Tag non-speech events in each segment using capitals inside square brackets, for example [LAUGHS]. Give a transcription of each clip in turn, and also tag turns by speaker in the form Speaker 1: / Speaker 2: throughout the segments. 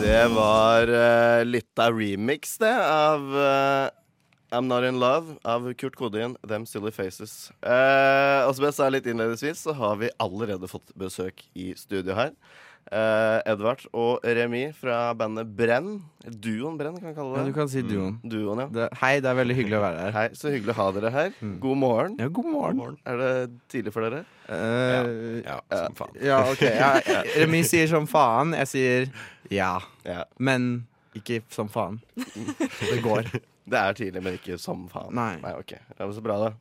Speaker 1: Det var uh, litt av remix, det, av eh, I'm Not In Love av Kurt Kodin, Them Silly Faces. Eh, og som jeg sa litt innledningsvis, så har vi allerede fått besøk i studio her. Eh, Edvard og Remi fra bandet Brenn. Duoen Brenn, kan vi kalle
Speaker 2: Ja,
Speaker 1: det.
Speaker 2: du kan si duoen.
Speaker 1: Duoen, ja.
Speaker 2: Det, hei, det er veldig hyggelig å være her.
Speaker 1: Hei, så hyggelig å ha dere her. God morgen.
Speaker 2: Mm. Ja, god morgen.
Speaker 1: Er det tidlig for dere?
Speaker 2: Eh, ja.
Speaker 3: Ja, som faen.
Speaker 2: ok. Ja, Remi sier som faen. Jeg sier ja.
Speaker 1: Ja.
Speaker 2: Men ikke som faen. Det går.
Speaker 1: [LAUGHS] Det er tidlig, men ikke som faen.
Speaker 2: Nei.
Speaker 1: ok. Det var så bra, da.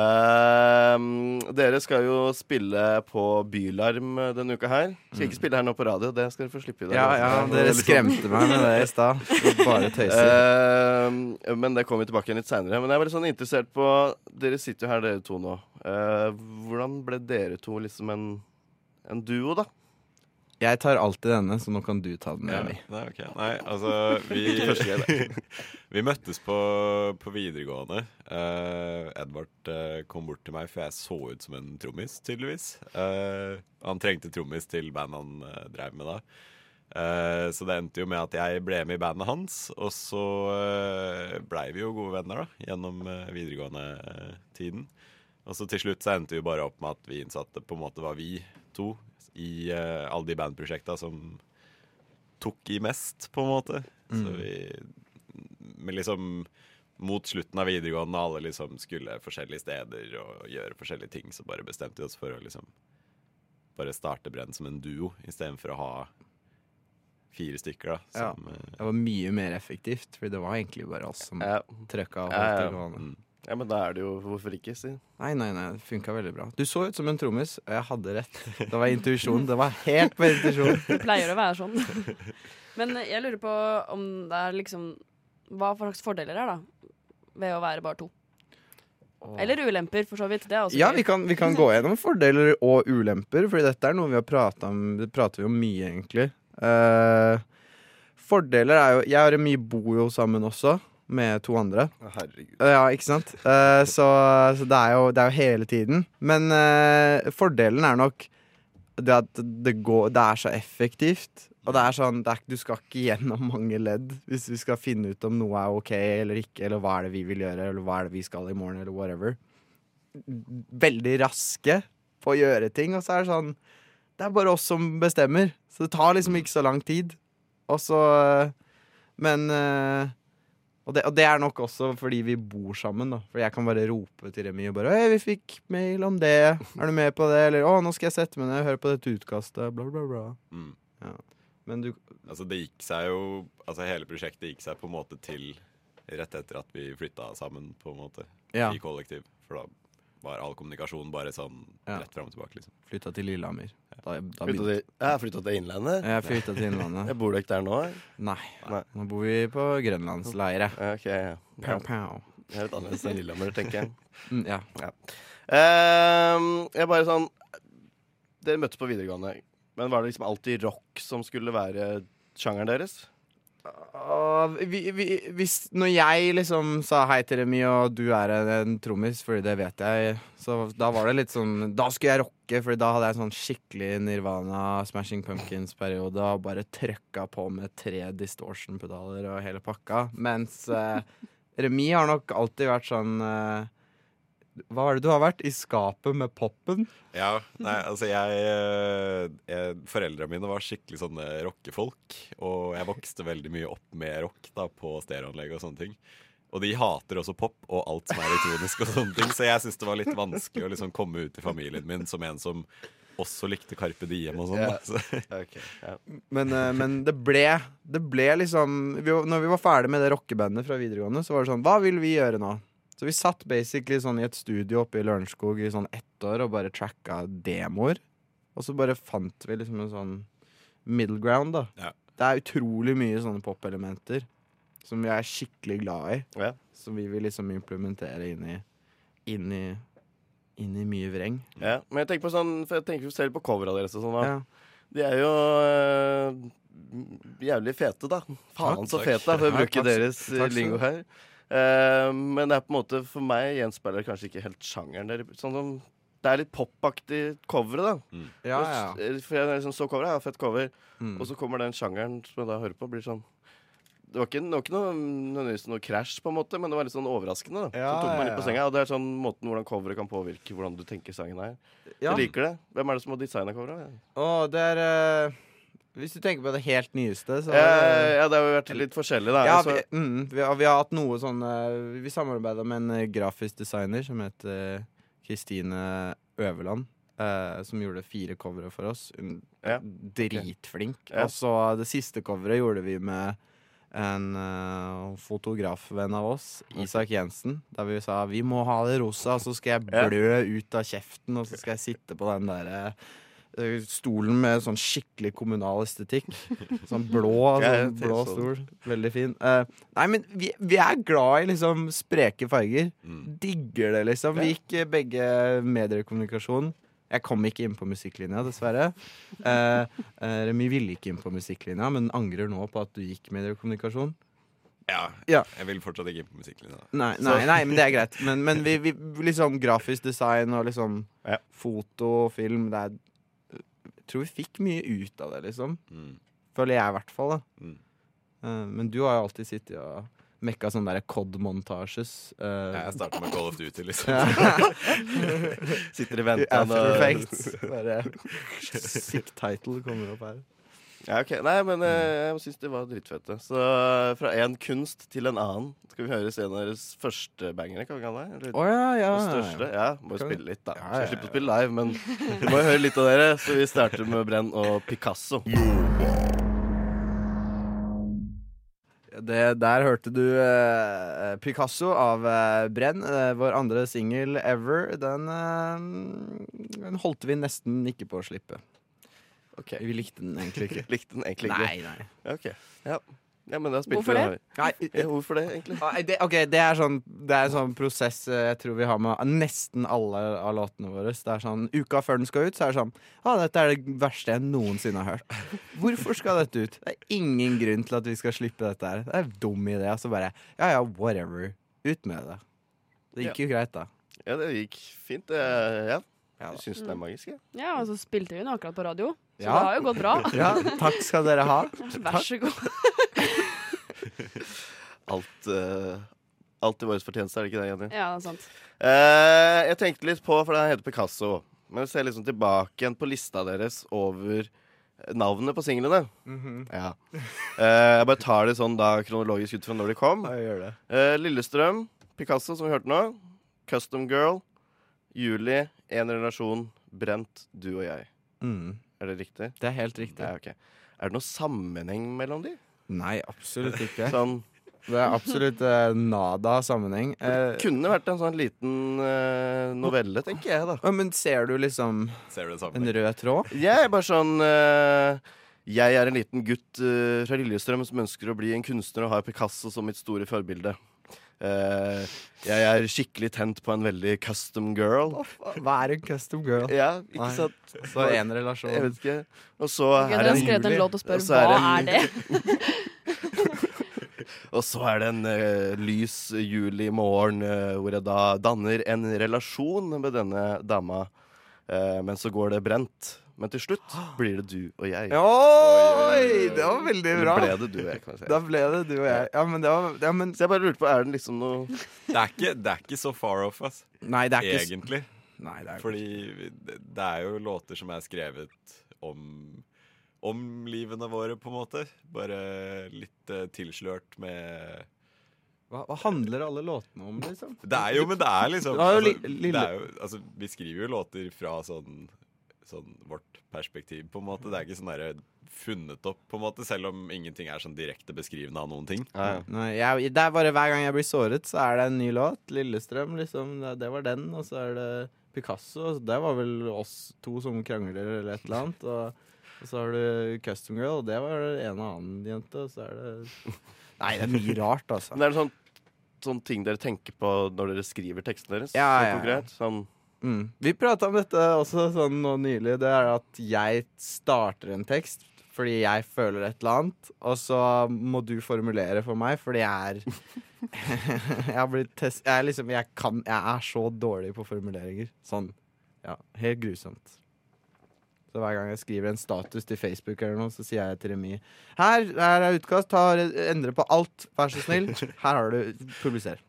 Speaker 1: Ehm, dere skal jo spille på Bylarm denne uka her. Skal ikke spille her nå på radio, det skal dere få slippe i dag.
Speaker 2: Mm. Ja, ja, dere skremte meg med det i stad. Eh, Bare tøyser.
Speaker 1: Ehm, men det kommer vi tilbake igjen litt seinere. Men jeg er veldig sånn interessert på Dere sitter jo her, dere to nå. Eh, hvordan ble dere to liksom en, en duo, da?
Speaker 2: Jeg tar alltid denne, så nå kan du ta den,
Speaker 3: Ja,
Speaker 2: Remi.
Speaker 3: nei, ok. Nei, altså Vi, [LAUGHS] vi møttes på, på videregående. Eh, Edvard eh, kom bort til meg, for jeg så ut som en trommis, tydeligvis. Eh, han trengte trommis til bandet han eh, drev med da. Eh, så det endte jo med at jeg ble med i bandet hans, og så uh, blei vi jo gode venner da, gjennom eh, videregående-tiden. Og så til slutt så endte vi bare opp med at vi innså at det på en måte var vi to i eh, alle de bandprosjekta som tok i mest, på en måte. Så vi Men liksom mot slutten av videregående, og alle liksom skulle forskjellige steder og gjøre forskjellige ting, så bare bestemte vi oss for å liksom bare starte Brenn som en duo, istedenfor å ha fire stykker, da.
Speaker 2: Ja.
Speaker 3: Som, eh,
Speaker 2: Det var mye mer effektivt, for det var egentlig bare oss som
Speaker 1: Ja.
Speaker 2: trøkka. og
Speaker 1: Ja,
Speaker 2: holdt
Speaker 1: ja.
Speaker 2: det gående.
Speaker 3: mm.
Speaker 1: ja, men da er det jo Hvorfor ikke, si?
Speaker 2: Nei, nei, nei, det funka veldig bra. Du så ut som en trommis, og jeg hadde rett. Det var intuisjon. Det var helt på intuisjon.
Speaker 4: Det pleier å være sånn. Men jeg lurer på om det er liksom Hva for slags fordeler er, da? Ved å være bare to. Eller ulemper, for så vidt. Det er også
Speaker 2: Ja,
Speaker 4: gøy.
Speaker 2: vi kan, vi kan gå gjennom fordeler og ulemper, Fordi dette er noe vi har pratet om Det prater vi om mye, egentlig. Eh, fordeler er jo Jeg og Remi bor jo sammen også, med to andre.
Speaker 1: Herregud.
Speaker 2: Eh, Ja, ikke sant? Eh, så så det, er jo, det er jo hele tiden. Men eh, fordelen er nok det at det, går, det er så effektivt. Og det er sånn, det er, ikke- du skal ikke gjennom mange ledd hvis vi skal finne ut om noe er ok eller ikke, eller hva er det vi vil gjøre, eller hva er det vi skal i morgen, eller whatever. Veldig raske på å gjøre ting, og så er det sånn Det er bare oss som bestemmer. Så det tar liksom ikke så lang tid. Og så eh, Men eh, og det, og det er nok også fordi vi bor sammen. da For jeg kan bare rope til Remi og bare Hei, vi fikk mail om det. Er du med på det? Eller å, nå skal jeg sette meg ned og høre på dette utkastet. Bla, bla, bla.
Speaker 3: Mm.
Speaker 2: Men du
Speaker 3: Altså, det gikk seg jo Altså, hele prosjektet gikk seg på en måte til rett etter at vi flytta sammen, på en måte,
Speaker 2: ja.
Speaker 3: i kollektiv. For da var all kommunikasjon bare sånn
Speaker 2: Ja.
Speaker 3: rett fram og tilbake, liksom.
Speaker 2: flytta til Lillehammer. Da, da
Speaker 1: Flytta
Speaker 2: begynte
Speaker 1: til, jeg har flytta til Innlandet.
Speaker 2: jeg flytta til Innlandet.
Speaker 1: Jeg bor dere ikke der nå?
Speaker 2: Nei.
Speaker 1: Nei.
Speaker 2: Nå bor vi på grønlandsleire.
Speaker 1: Ja, Ok, ja.
Speaker 2: Pow, pow.
Speaker 1: Jeg er litt annerledes enn Lillehammer, tenker jeg.
Speaker 2: Mm, ja.
Speaker 1: [LAUGHS] Ehm, jeg er bare sånn Dere møttes på videregående, men var det liksom alltid rock som skulle være sjangeren deres?
Speaker 2: Åh, vi, vi, hvis, når jeg liksom sa hei til Remi, og du er en, en trommis, fordi det vet jeg, så da var det litt sånn Da skulle jeg rocke, Fordi da hadde jeg en sånn skikkelig Nirvana, Smashing Pumpkins-periode og bare trøkka på med tre distortion-pedaler og hele pakka. Mens eh, Remi har nok alltid vært sånn eh, Hva var det du har vært? I skapet med poppen?
Speaker 3: Ja, nei, altså jeg, eh, jeg Foreldrene mine var skikkelig sånne rockefolk. Og jeg vokste veldig mye opp med rock da på stereoanlegg og sånne ting. Og de hater også pop og alt som er elektronisk, og sånne ting så jeg syns det var litt vanskelig å liksom komme ut i familien min som en som også likte Carpe Diem og sånn. da.
Speaker 1: [LAUGHS] Ja.
Speaker 3: Så-
Speaker 1: Okay, ja.
Speaker 2: Men, eh, men det ble Det ble liksom vi, var- Når vi var ferdig med det rockebandet fra videregående Så var det sånn, hva vil vi gjøre nå? Så vi satt basically sånn i et studio oppe i Lørenskog I sånn ett år og bare tracka demoer Og så bare fant vi liksom en sånn middle ground da
Speaker 3: Ja.
Speaker 2: Det er utrolig mye sånne pop-elementer Som vi er skikkelig glad i
Speaker 1: Ja.
Speaker 2: Som vi vil liksom implementere inn i Inn i, inn i mye vreng
Speaker 1: Ja. Men jeg tenker på sånn For jeg tenker selv på covera deres og sånn. da.
Speaker 2: ja.
Speaker 1: De er jo eh, jævlig fete, da. Faen
Speaker 3: Takk,
Speaker 1: så
Speaker 3: takk.
Speaker 1: fete, da, for å
Speaker 2: Ja,
Speaker 1: bruke
Speaker 2: takk.
Speaker 1: deres eh,
Speaker 2: Takk skal
Speaker 1: lingo
Speaker 2: du
Speaker 1: her. Ehm, Eh, men det er på en måte for meg gjenspeiler det kanskje ikke helt sjangeren dere Sånn som Det er litt popaktig cover, da.
Speaker 2: Ja, ja.
Speaker 1: Og s- For jeg liksom så coveret, ja, fett cover.
Speaker 2: Mm.
Speaker 1: Og så kommer den sjangeren som jeg da hører på, blir sånn Det var ikke, det var ikke noe, nødvendigvis noe krasj, på en måte, men det var litt sånn overraskende. da
Speaker 2: Ja,
Speaker 1: Så tok meg litt
Speaker 2: ja,
Speaker 1: på senga, og det er sånn måten hvordan coveret kan påvirke hvordan du tenker sangen er.
Speaker 2: Ja.
Speaker 1: Jeg liker det. Hvem er det som har designa coveret?
Speaker 2: Og det er eh, Hvis du tenker på det helt nyeste, så
Speaker 1: Eh, ja, det har jo vært litt forskjellig, da.
Speaker 2: Ja,
Speaker 1: Så,
Speaker 2: vi, mm, vi, har- vi har hatt noe sånn eh, Vi samarbeida med en eh, grafisk designer som het eh, Kristine Øverland. eh, som gjorde fire covere for oss. Hun,
Speaker 1: Ja.
Speaker 2: Dritflink.
Speaker 1: Ja.
Speaker 2: Og så det siste coveret gjorde vi med en eh, fotografvenn av oss, Isak Jensen, der vi sa vi må ha det rosa, så skal jeg
Speaker 1: Ja.
Speaker 2: blø ut av kjeften, og så skal jeg sitte på den derre eh, Stolen med sånn skikkelig kommunal
Speaker 1: [LAUGHS]
Speaker 2: estetikk. Sånn blå,
Speaker 1: Ja, jeg
Speaker 2: sånn blå
Speaker 1: så
Speaker 2: stol. Veldig fin. Eh, nei, men vi, vi er glad i liksom spreke farger.
Speaker 3: Mm.
Speaker 2: Digger det, liksom. Vi gikk eh, begge mediekommunikasjon. Jeg kom ikke inn på musikklinja, dessverre. Eh, eh, Remi ville ikke inn på musikklinja, men angrer nå på at du gikk mediekommunikasjon.
Speaker 3: Ja.
Speaker 2: Ja.
Speaker 3: Jeg vil fortsatt ikke inn på musikklinja.
Speaker 2: Nei, nei, nei, men det er greit. Men, men vi, vi liksom grafisk design og liksom
Speaker 1: Ja.
Speaker 2: foto og film det er, Jeg tror vi fikk mye ut av det, liksom.
Speaker 3: Mm.
Speaker 2: Føler jeg i hvert fall. da
Speaker 3: Mm.
Speaker 2: Eh, Men du har jo alltid sittet og mekka sånne der COD-montasjes.
Speaker 3: Ja,
Speaker 2: Uh,
Speaker 3: Jeg starter med Call of Duty, liksom.
Speaker 1: sitter i venten
Speaker 2: After
Speaker 1: og
Speaker 2: Effects. [LAUGHS] Bare sick title kommer opp her.
Speaker 1: Ja, ok. Nei, men eh,
Speaker 2: Mm.
Speaker 1: jeg syns de var dritfete. Så eh, fra én kunst til en annen. Skal vi høre en av deres første bangere? Kan vi kalle det? Eller
Speaker 2: Å ja, ja.
Speaker 1: Den største? Ja, må jo
Speaker 2: Kan vi-
Speaker 1: spille litt, da.
Speaker 2: Ja,
Speaker 1: Så
Speaker 2: ja,
Speaker 1: jeg slipper å spille live, men vi må jo høre litt av dere. Så vi starter med Brenn og Picasso.
Speaker 2: Det, der hørte du eh, Picasso av eh, Brenn. eh, vår andre singel ever. Den, eh, den holdt vi nesten ikke på å slippe.
Speaker 1: Ok.
Speaker 2: Vi likte den egentlig ikke.
Speaker 1: Likte den [LAUGHS] egentlig ikke.
Speaker 2: Nei, nei.
Speaker 1: Ja, Ok. Ja. ja, men da spilte
Speaker 4: Hvorfor
Speaker 1: vi
Speaker 4: det?
Speaker 1: den.
Speaker 2: nei
Speaker 1: Ja, hvorfor det, egentlig?
Speaker 2: Ah, Det, ok, det er, sånn, det er en sånn prosess eh, jeg tror vi har med nesten alle av låtene våre. Det er sånn, Uka før den skal ut, så er det sånn ah, Dette er det verste jeg noensinne har hørt. Hvorfor skal dette ut? Det er ingen grunn til at vi skal slippe dette her. Det er en dum idé. Og så bare ja ja, whatever. Ut med det. Det gikk jo greit, da.
Speaker 1: Ja, det gikk fint. det. Ja.
Speaker 2: Ja da.
Speaker 1: Jeg syns den
Speaker 4: Mm.
Speaker 1: er magisk, jeg.
Speaker 4: Ja, og så spilte vi den akkurat på radio, så
Speaker 2: Ja.
Speaker 4: det har jo gått bra.
Speaker 2: [LAUGHS] Ja, takk skal dere ha.
Speaker 4: Vær så god.
Speaker 1: Alt, eh, alt i vår fortjeneste, er det ikke det, Jenny?
Speaker 4: Ja, det er sant.
Speaker 1: Eh, jeg tenkte litt på, for den heter Picasso. Men jeg ser liksom tilbake igjen på lista deres over navnet på singlene.
Speaker 2: Mhm.
Speaker 1: Ja. Eh, jeg bare tar det sånn da kronologisk ut fra når de kom.
Speaker 2: [LAUGHS] Ja, gjør det.
Speaker 1: Eh, Lillestrøm, Picasso, som vi hørte nå. Custom Girl, Julie, En relasjon, Brent, du og jeg.
Speaker 2: Mm,
Speaker 1: Er det riktig?
Speaker 2: det er helt riktig.
Speaker 1: Ja, ok. Er det noen sammenheng mellom de?
Speaker 2: Nei, [LAUGHS] absolutt ikke.
Speaker 1: Sånn,
Speaker 2: Det er absolutt eh, nada sammenheng. Eh,
Speaker 1: kunne vært en sånn liten eh, novelle, tenker jeg, da.
Speaker 2: ja, men ser du liksom
Speaker 3: [LAUGHS] Ser du det
Speaker 2: en
Speaker 3: samme?
Speaker 2: rød tråd?
Speaker 1: Jeg er bare sånn eh, Jeg er en liten gutt eh, fra Lillestrøm som ønsker å bli en kunstner og har Picasso som mitt store forbilde. Eh, jeg er skikkelig tent på en veldig custom girl.
Speaker 2: Hva er en custom girl?
Speaker 1: Ja, ikke
Speaker 2: Nei.
Speaker 1: sant?
Speaker 2: Så en relasjon.
Speaker 1: Jeg vet ikke. Og så er
Speaker 4: Okay, dere
Speaker 1: det
Speaker 4: har
Speaker 1: en,
Speaker 4: skrevet en
Speaker 2: juli,
Speaker 4: låt og
Speaker 1: og
Speaker 4: spør
Speaker 1: så er
Speaker 4: hva
Speaker 1: det
Speaker 4: er det?
Speaker 1: og så er det en eh, lys juli morgen eh, hvor jeg da danner en relasjon med denne dama. Eh, men så går det brent. Men til slutt blir det du og jeg.
Speaker 2: Oi! Det var veldig
Speaker 1: Eller
Speaker 2: bra.
Speaker 1: ble det du og jeg, kan vi si.
Speaker 2: Da ble det du og jeg. Ja, men det var ja, men,
Speaker 1: Så jeg bare lurte på, er den liksom noe
Speaker 3: Det er ikke, det er ikke så far off, ass.
Speaker 2: Nei, det er ikke
Speaker 3: Egentlig.
Speaker 2: Nei, det er
Speaker 3: Fordi det det er jo låter som er skrevet om om livene våre, på en måte. Bare litt eh, tilslørt med
Speaker 2: hva, hva handler alle låtene om, liksom?
Speaker 3: Det er jo, men det er liksom
Speaker 2: Det er jo
Speaker 3: altså,
Speaker 2: li- lille-
Speaker 3: det er jo, altså, Vi skriver jo låter fra sånn, sånn vårt perspektiv, på en måte. Det er ikke sånn derre funnet opp, på en måte, selv om ingenting er sånn direkte beskrivende av noen ting.
Speaker 2: Nei, jeg, det er bare Hver gang jeg blir såret, så er det en ny låt. Lillestrøm, liksom. Det, det var den. Og så er det Picasso. og Det var vel oss to som krangler eller et eller annet. Og, og så har du Custom Girl, og det var en og annen jente. Og så er det Nei, det er mye rart, altså.
Speaker 1: Men er det sånn, sånn ting dere tenker på når dere skriver tekstene deres?
Speaker 2: Ja,
Speaker 1: sånn
Speaker 2: ja, ja.
Speaker 1: konkret? Sånn,
Speaker 2: Mm. Vi prata om dette også sånn nå nylig. Det er at jeg starter en tekst fordi jeg føler et eller annet, og så må du formulere for meg fordi jeg er [LAUGHS] Jeg har blitt test... Jeg er liksom Jeg kan Jeg er så dårlig på formuleringer. Sånn Ja, helt grusomt. Så hver gang jeg skriver en status til Facebook, eller noe, så sier jeg til Remi Her, her er utkast, ta, endre på alt, vær så snill. Her har du Publiser.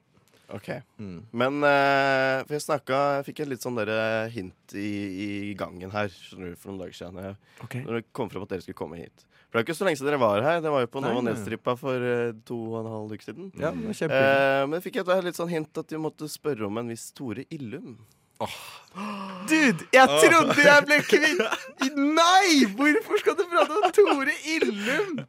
Speaker 1: Ok
Speaker 2: Mm.
Speaker 1: Men eh, for jeg snakka Jeg fikk et litt sånn dere hint i, i gangen her skjønner du, for noen dager siden. Jeg, når det kom frem at dere skulle komme hit. For det er jo ikke så lenge siden dere var her. Det var jo på
Speaker 2: Nei,
Speaker 1: Nova
Speaker 2: nei.
Speaker 1: Nestrippa for eh, to og en halv uke siden.
Speaker 2: Ja, det var kjempehyggelig.
Speaker 1: Eh, men jeg fikk et litt sånn hint at vi måtte spørre om en viss Tore Illum.
Speaker 2: Dude, jeg trodde jeg ble kvitt Nei! Hvorfor skal du prate om Tore Illum?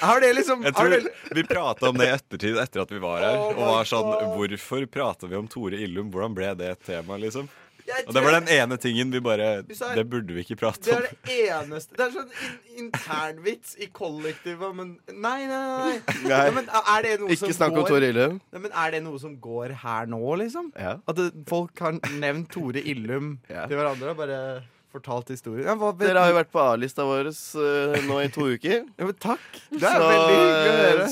Speaker 2: Har det liksom
Speaker 3: Jeg
Speaker 2: har
Speaker 3: tror
Speaker 2: det,
Speaker 3: Vi prata om det i ettertid etter at vi var her.
Speaker 2: Oh my
Speaker 3: Og var sånn
Speaker 2: God.
Speaker 3: Hvorfor prata vi om Tore Illum? Hvordan ble det et tema, liksom?
Speaker 2: jeg
Speaker 3: Og det var den ene tingen vi bare
Speaker 2: Du sa-
Speaker 3: Det burde vi ikke
Speaker 2: Det
Speaker 3: prate
Speaker 2: er
Speaker 3: om.
Speaker 2: det eneste Det er sånn in internvits i kollektivet, men Nei, nei, nei. nei.
Speaker 1: Nei.
Speaker 2: Ja, men er det noe
Speaker 1: Ikke
Speaker 2: som
Speaker 1: snakk om
Speaker 2: går-
Speaker 1: Tore Illum.
Speaker 2: Nei, men er det noe som går her nå, liksom?
Speaker 1: Ja.
Speaker 2: At det, folk har nevnt Tore Illum
Speaker 1: Ja.
Speaker 2: til hverandre og bare fortalt historien? Ja, hva,
Speaker 1: Dere har jo vært på A-lista vår eh, nå i to uker.
Speaker 2: ja, men Takk! [LAUGHS] Det er
Speaker 1: så, eh,
Speaker 2: veldig hyggelig å høre.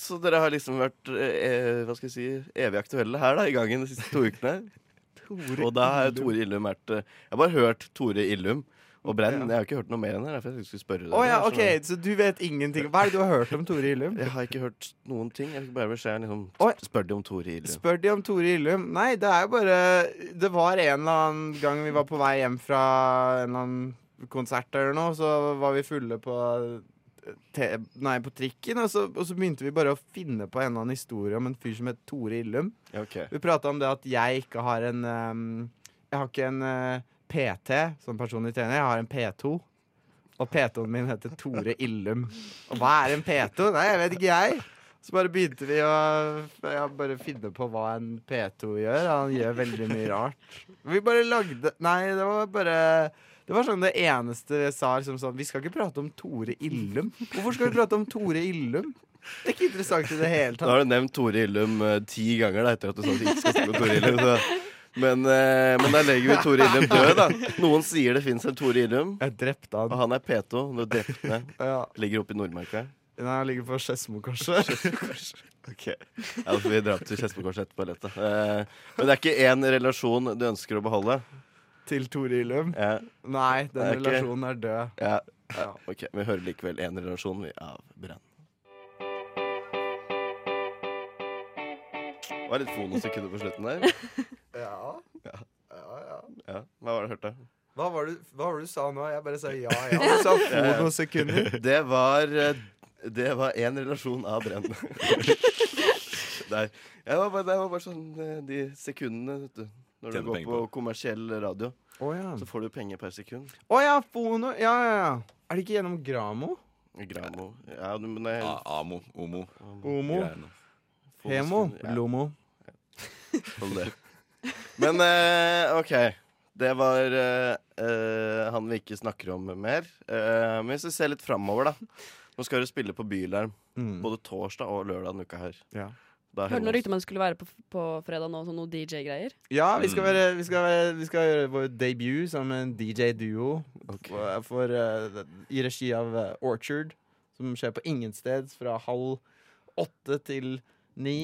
Speaker 1: Så dere har liksom vært eh, hva skal jeg si, evig aktuelle her da, i gangen de siste to ukene.
Speaker 2: [LAUGHS] Tore
Speaker 1: Og da har
Speaker 2: Illum.
Speaker 1: Tore Illum vært eh, Jeg har bare hørt Tore Illum og Brenn.
Speaker 2: Ja.
Speaker 1: Jeg har ikke hørt noe mer enn det. Derfor jeg skulle spørre dere.
Speaker 2: Å ja,
Speaker 1: Jeg
Speaker 2: ok,
Speaker 1: skjønner.
Speaker 2: så du vet ingenting. Hva er det du har hørt om Tore Illum?
Speaker 1: Jeg har ikke hørt noen ting. Jeg fikk bare beskjed liksom,
Speaker 2: Oi.
Speaker 1: Spør de om Tore Illum.
Speaker 2: Spør de om Tore Illum? Nei, det er jo bare Det var en eller annen gang vi var på vei hjem fra en eller annen konsert eller noe, så var vi fulle på te Nei, på trikken, og så, og så begynte vi bare å finne på en eller annen historie om en fyr som het Tore Illum.
Speaker 1: Ok.
Speaker 2: Vi prata om det at jeg ikke har en ehm, Jeg har ikke en eh, PT som personlig trener. Jeg har en P2. Og P2-en min heter Tore Illum. Og hva er en P2? Nei, jeg vet ikke jeg. Så bare begynte vi å ja, bare finne på hva en P2 gjør. Han gjør veldig mye rart. Vi bare lagde Nei, det var bare det var sånn det eneste jeg sa liksom sånn Vi skal ikke prate om Tore Illum. Hvorfor skal vi prate om Tore Illum? Det er ikke interessant i det hele
Speaker 1: Nå
Speaker 2: tatt.
Speaker 1: har du nevnt Tore Illum eh, ti ganger da, etter at du sa at du ikke skal snakke om Tore Illum. Så. Men, eh, men da legger vi Tore Illum død, da. Noen sier det fins en Tore Illum,
Speaker 2: Jeg drepte
Speaker 1: og
Speaker 2: han.
Speaker 1: han er P2. Du er drept ned.
Speaker 2: Ja.
Speaker 1: Ligger oppe i Nordmarka.
Speaker 2: Nei, han ligger på Skedsmokorset.
Speaker 1: Okay. Ja, da får vi dra opp til Skedsmokorset etterpå. Lett, da. Eh, men det er ikke én relasjon du ønsker å beholde.
Speaker 2: [LAUGHS]
Speaker 1: Eh,
Speaker 2: Til Tore Illum.
Speaker 1: Ja,
Speaker 2: Nei, den
Speaker 1: Det er ikke-
Speaker 2: relasjonen er død.
Speaker 1: ja.
Speaker 2: Ja.
Speaker 1: Ok, Vi hører likevel én relasjon vi av Brenn. Det var litt fonosikunde på slutten der.
Speaker 2: Ja.
Speaker 1: Ja.
Speaker 2: Ja, ja.
Speaker 1: Ja, Hva var det du hørte?
Speaker 2: Hva var det hva var det du sa nå? Jeg bare sa ja, ja. [LAUGHS] Du sa få
Speaker 1: ja.
Speaker 2: noen sekunder.
Speaker 1: Det var eh, Det var én relasjon av [LAUGHS] brenn. Der. Jeg var bare, det var bare sånn eh, de sekundene, vet du. Når du
Speaker 3: Tjener
Speaker 1: går
Speaker 3: penger
Speaker 1: på
Speaker 3: på.
Speaker 1: kommersiell radio,
Speaker 2: Å ja.
Speaker 1: så får du penger per sekund.
Speaker 2: Å ja, fono. Ja, ja, ja. Er det ikke gjennom Gramo?
Speaker 1: Gramo. Ja, du- men det
Speaker 3: A Amo, Omo
Speaker 2: Homo?
Speaker 3: greiene.
Speaker 1: får du
Speaker 2: Hemo?
Speaker 1: sekund. Ja,
Speaker 2: Lomo?
Speaker 1: hold det. Men eh, OK. Det var eh, eh, han vi ikke snakker om mer. Eh, men hvis vi ser litt framover, da. Nå skal du spille på Bylarm
Speaker 2: Mm.
Speaker 1: både torsdag og lørdag denne uka her.
Speaker 2: Ja.
Speaker 1: Da
Speaker 4: Hørte noen
Speaker 1: Hemos-
Speaker 4: rykter om at du skulle være på, på fredag nå, sånn noe DJ-greier.
Speaker 2: ja, vi
Speaker 1: Mm.
Speaker 2: skal, være, vi, skal være, vi skal gjøre vår debut som en DJ-duo for, for, eh, i regi av eh, Orchard, som skjer på Ingensteds fra halv åtte til ni.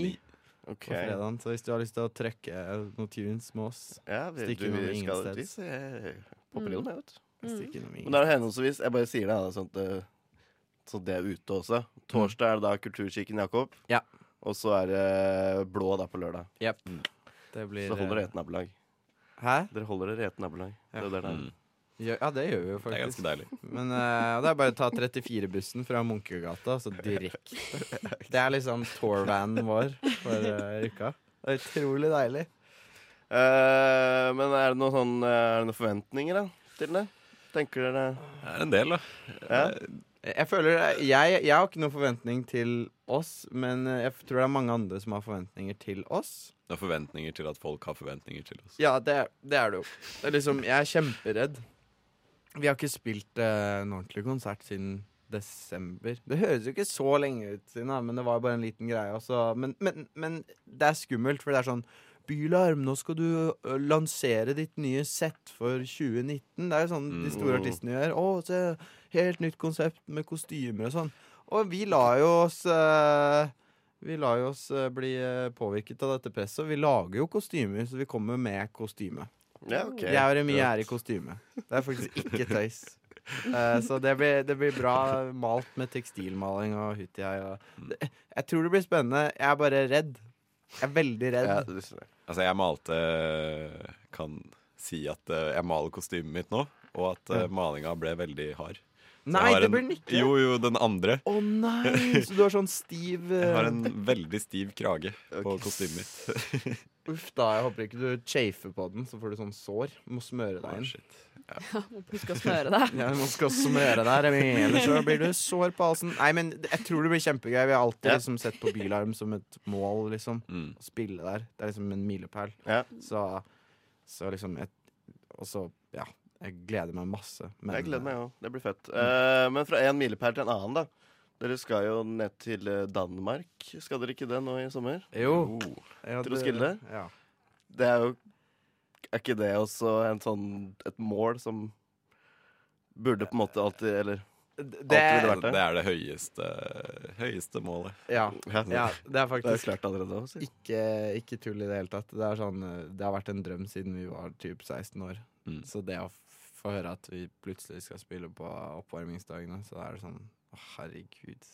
Speaker 1: Ok.
Speaker 2: på fredagen. Så hvis du har lyst til å trøkke noen tunes med oss
Speaker 1: Ja, vi, du,
Speaker 2: Stikke innom
Speaker 1: vi
Speaker 2: ingen
Speaker 1: skal
Speaker 2: steds.
Speaker 1: dit. så jeg Popper innom, jeg, vet du.
Speaker 4: Mm.
Speaker 2: stikk innom i-
Speaker 1: Men det er henholdsvis Jeg bare sier det, da, sånn at det, så det er ute også. Torsdag er det da Kulturkirken Jakob.
Speaker 2: Ja.
Speaker 1: Og så er det Blå da på lørdag.
Speaker 2: Jep. Det blir eh,
Speaker 1: Så holder dere et nabolag.
Speaker 2: Hæ?
Speaker 1: Dere holder dere et nabolag. Det er jo det det er.
Speaker 3: Mm.
Speaker 2: Gjør- Ja, det gjør vi jo
Speaker 3: Det er
Speaker 2: faktisk.
Speaker 3: ganske deilig.
Speaker 2: Men eh, det er bare å ta 34-bussen fra Munkegata, så
Speaker 1: [LAUGHS]
Speaker 2: direkte. Det er liksom tourvanen vår for eh, uka. Det er utrolig deilig.
Speaker 1: Eh, men er det noen sånn, eh, er det noen forventninger da, til det? Tenker dere
Speaker 3: Det er en del, da.
Speaker 1: ja?
Speaker 2: Jeg føler jeg, jeg har ikke noen forventning til oss, men eh, jeg tror det er mange andre som har forventninger til oss.
Speaker 3: Det er forventninger til at folk har forventninger til oss.
Speaker 2: Ja, det, er- det er det jo. Det er liksom, jeg er kjemperedd. Vi har ikke spilt eh, en ordentlig konsert siden desember. Det høres jo ikke så lenge ut siden, da, men det var jo bare en liten greie. Også. Men, men, men det er skummelt, for det er sånn Bylarm, nå skal du ø, lansere ditt nye sett for 2019. Det er jo sånn de store
Speaker 1: Mm.
Speaker 2: artistene gjør. Å, se, helt nytt konsept med kostymer og sånn. Og vi lar jo oss eh, vi lar jo oss eh, bli eh, påvirket av dette presset, og vi lager jo kostymer, så vi kommer med kostyme.
Speaker 1: Ja, ok.
Speaker 2: Jeg og Remi er i kostyme. Det er faktisk ikke tøys. Eh, så det blir, det blir bra malt med tekstilmaling og hutia.
Speaker 3: Mm.
Speaker 2: Og det, jeg tror det blir spennende. Jeg er bare redd. Jeg er veldig redd.
Speaker 1: Ja, det skjønner jeg.
Speaker 3: Altså, jeg malte Kan si at eh, jeg maler kostymet mitt nå, og at eh, malinga ble veldig hard. Så
Speaker 2: Nei,
Speaker 3: jeg har
Speaker 2: det
Speaker 3: en-
Speaker 2: blir den ikke.
Speaker 3: Jo, jo, den andre.
Speaker 2: Å nei, så du har sånn stiv
Speaker 3: [LAUGHS] Jeg har
Speaker 2: eh,
Speaker 3: en veldig stiv krage på
Speaker 1: Ok.
Speaker 3: kostymet mitt.
Speaker 2: [LAUGHS] Uff da, jeg håper ikke du chafer på den, så får du sånn sår. Du må smøre deg
Speaker 3: Ah,
Speaker 2: inn.
Speaker 3: shit.
Speaker 4: Husk å smøre deg.
Speaker 2: Ja, man skal smøre deg, Remi, ellers
Speaker 3: [LAUGHS]
Speaker 2: så blir du sår på halsen. Nei, men jeg tror det blir kjempegøy. Vi har alltid
Speaker 1: Ja.
Speaker 2: liksom, sett på Bylarm som et mål, liksom.
Speaker 3: Mm.
Speaker 2: Å spille der. Det er liksom en milepæl.
Speaker 1: Ja.
Speaker 2: Så, så liksom et, Og så, ja. Jeg gleder meg masse. men- mm.
Speaker 1: Jeg gleder meg òg. Det blir fett. Eh, men fra én milepæl til en annen, da. Dere skal jo ned til eh, Danmark. Skal dere ikke det nå i sommer?
Speaker 2: Jo.
Speaker 3: Oh.
Speaker 2: Ja,
Speaker 1: Til å skille?
Speaker 2: Ja.
Speaker 1: Det er jo Er ikke det også en sånn, et mål som burde på en måte alltid Eller
Speaker 2: Det,
Speaker 1: Alltid ville vært
Speaker 3: Det er det høyeste, høyeste målet.
Speaker 2: ja, ja, det er
Speaker 1: Det er jo
Speaker 2: faktisk
Speaker 1: klart allerede. Også, si.
Speaker 2: ikke, ikke tull i det hele tatt. Det, er sånn, eh, det har vært en drøm siden vi var typ 16 år.
Speaker 3: Mm.
Speaker 2: Så det å få høre at vi plutselig skal spille på oppvarmingsdagene, så er det sånn å, Herregud.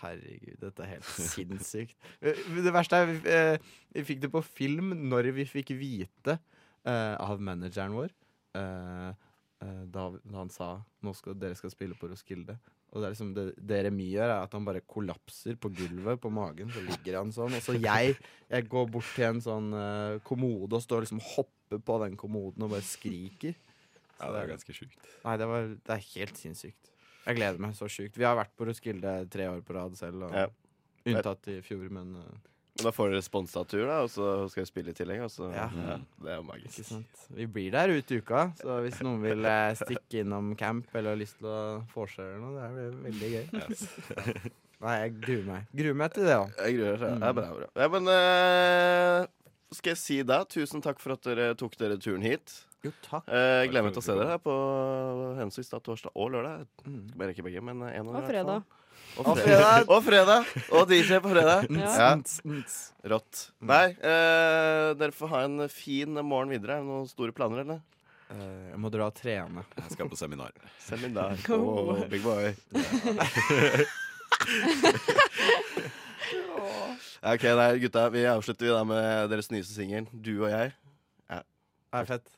Speaker 2: Herregud, dette er helt sinnssykt. Eh, Det verste er vi, eh, vi fikk det på film når vi fikk vite eh, av manageren vår eh, eh, da, da han sa Nå skal dere skal spille på Roskilde. Og det, er liksom det, det Remi gjør, er at han bare kollapser på gulvet på magen. Så ligger han sånn. Og så jeg, jeg går bort til en sånn eh, kommode og står liksom og hopper på den kommoden og bare skriker.
Speaker 3: Ja, det er ganske sjukt.
Speaker 2: Nei, det, var, det er helt sinnssykt. Jeg gleder meg så sjukt. Vi har vært på Roskilde tre år på rad selv. Og,
Speaker 1: Ja.
Speaker 2: Unntatt i fjor, men eh,
Speaker 1: Men da får dere sponsa tur, da, og så skal dere spille i tillegg. Og så,
Speaker 2: Ja.
Speaker 1: ja. det er jo magisk.
Speaker 2: ikke sant. Vi blir der ut i uka, så hvis noen vil eh, stikke innom camp eller har lyst til å vorse eller noe, det blir veldig gøy. Nei, jeg gruer meg. Gruer meg til det òg.
Speaker 1: Jeg gruer seg. Det er bra. bra. Ja, men eh, skal jeg si da, tusen takk for at dere tok dere turen hit.
Speaker 2: Jo, takk.
Speaker 1: Eh, Jeg gleder meg til å se dere her på henholdsvis da torsdag og lørdag.
Speaker 2: Mm.
Speaker 1: Jeg rekker begge, men eh, en av dem i
Speaker 4: Og
Speaker 1: hvert fall.
Speaker 4: fredag.
Speaker 1: Og fredag. og fredag! Og DJ på fredag.
Speaker 4: [LAUGHS] Ja.
Speaker 1: Ja,
Speaker 2: Nts, nts.
Speaker 1: Rått. Nei, eh, dere får ha en fin morgen videre. Er det noen store planer, eller?
Speaker 2: Eh, jeg må dra og trene.
Speaker 3: Jeg skal på seminar.
Speaker 1: Seminar. Oh, big boy. Ja, ok, nei, gutta. Vi avslutter vi da med deres nyeste singel, du og jeg.
Speaker 2: Det er fett.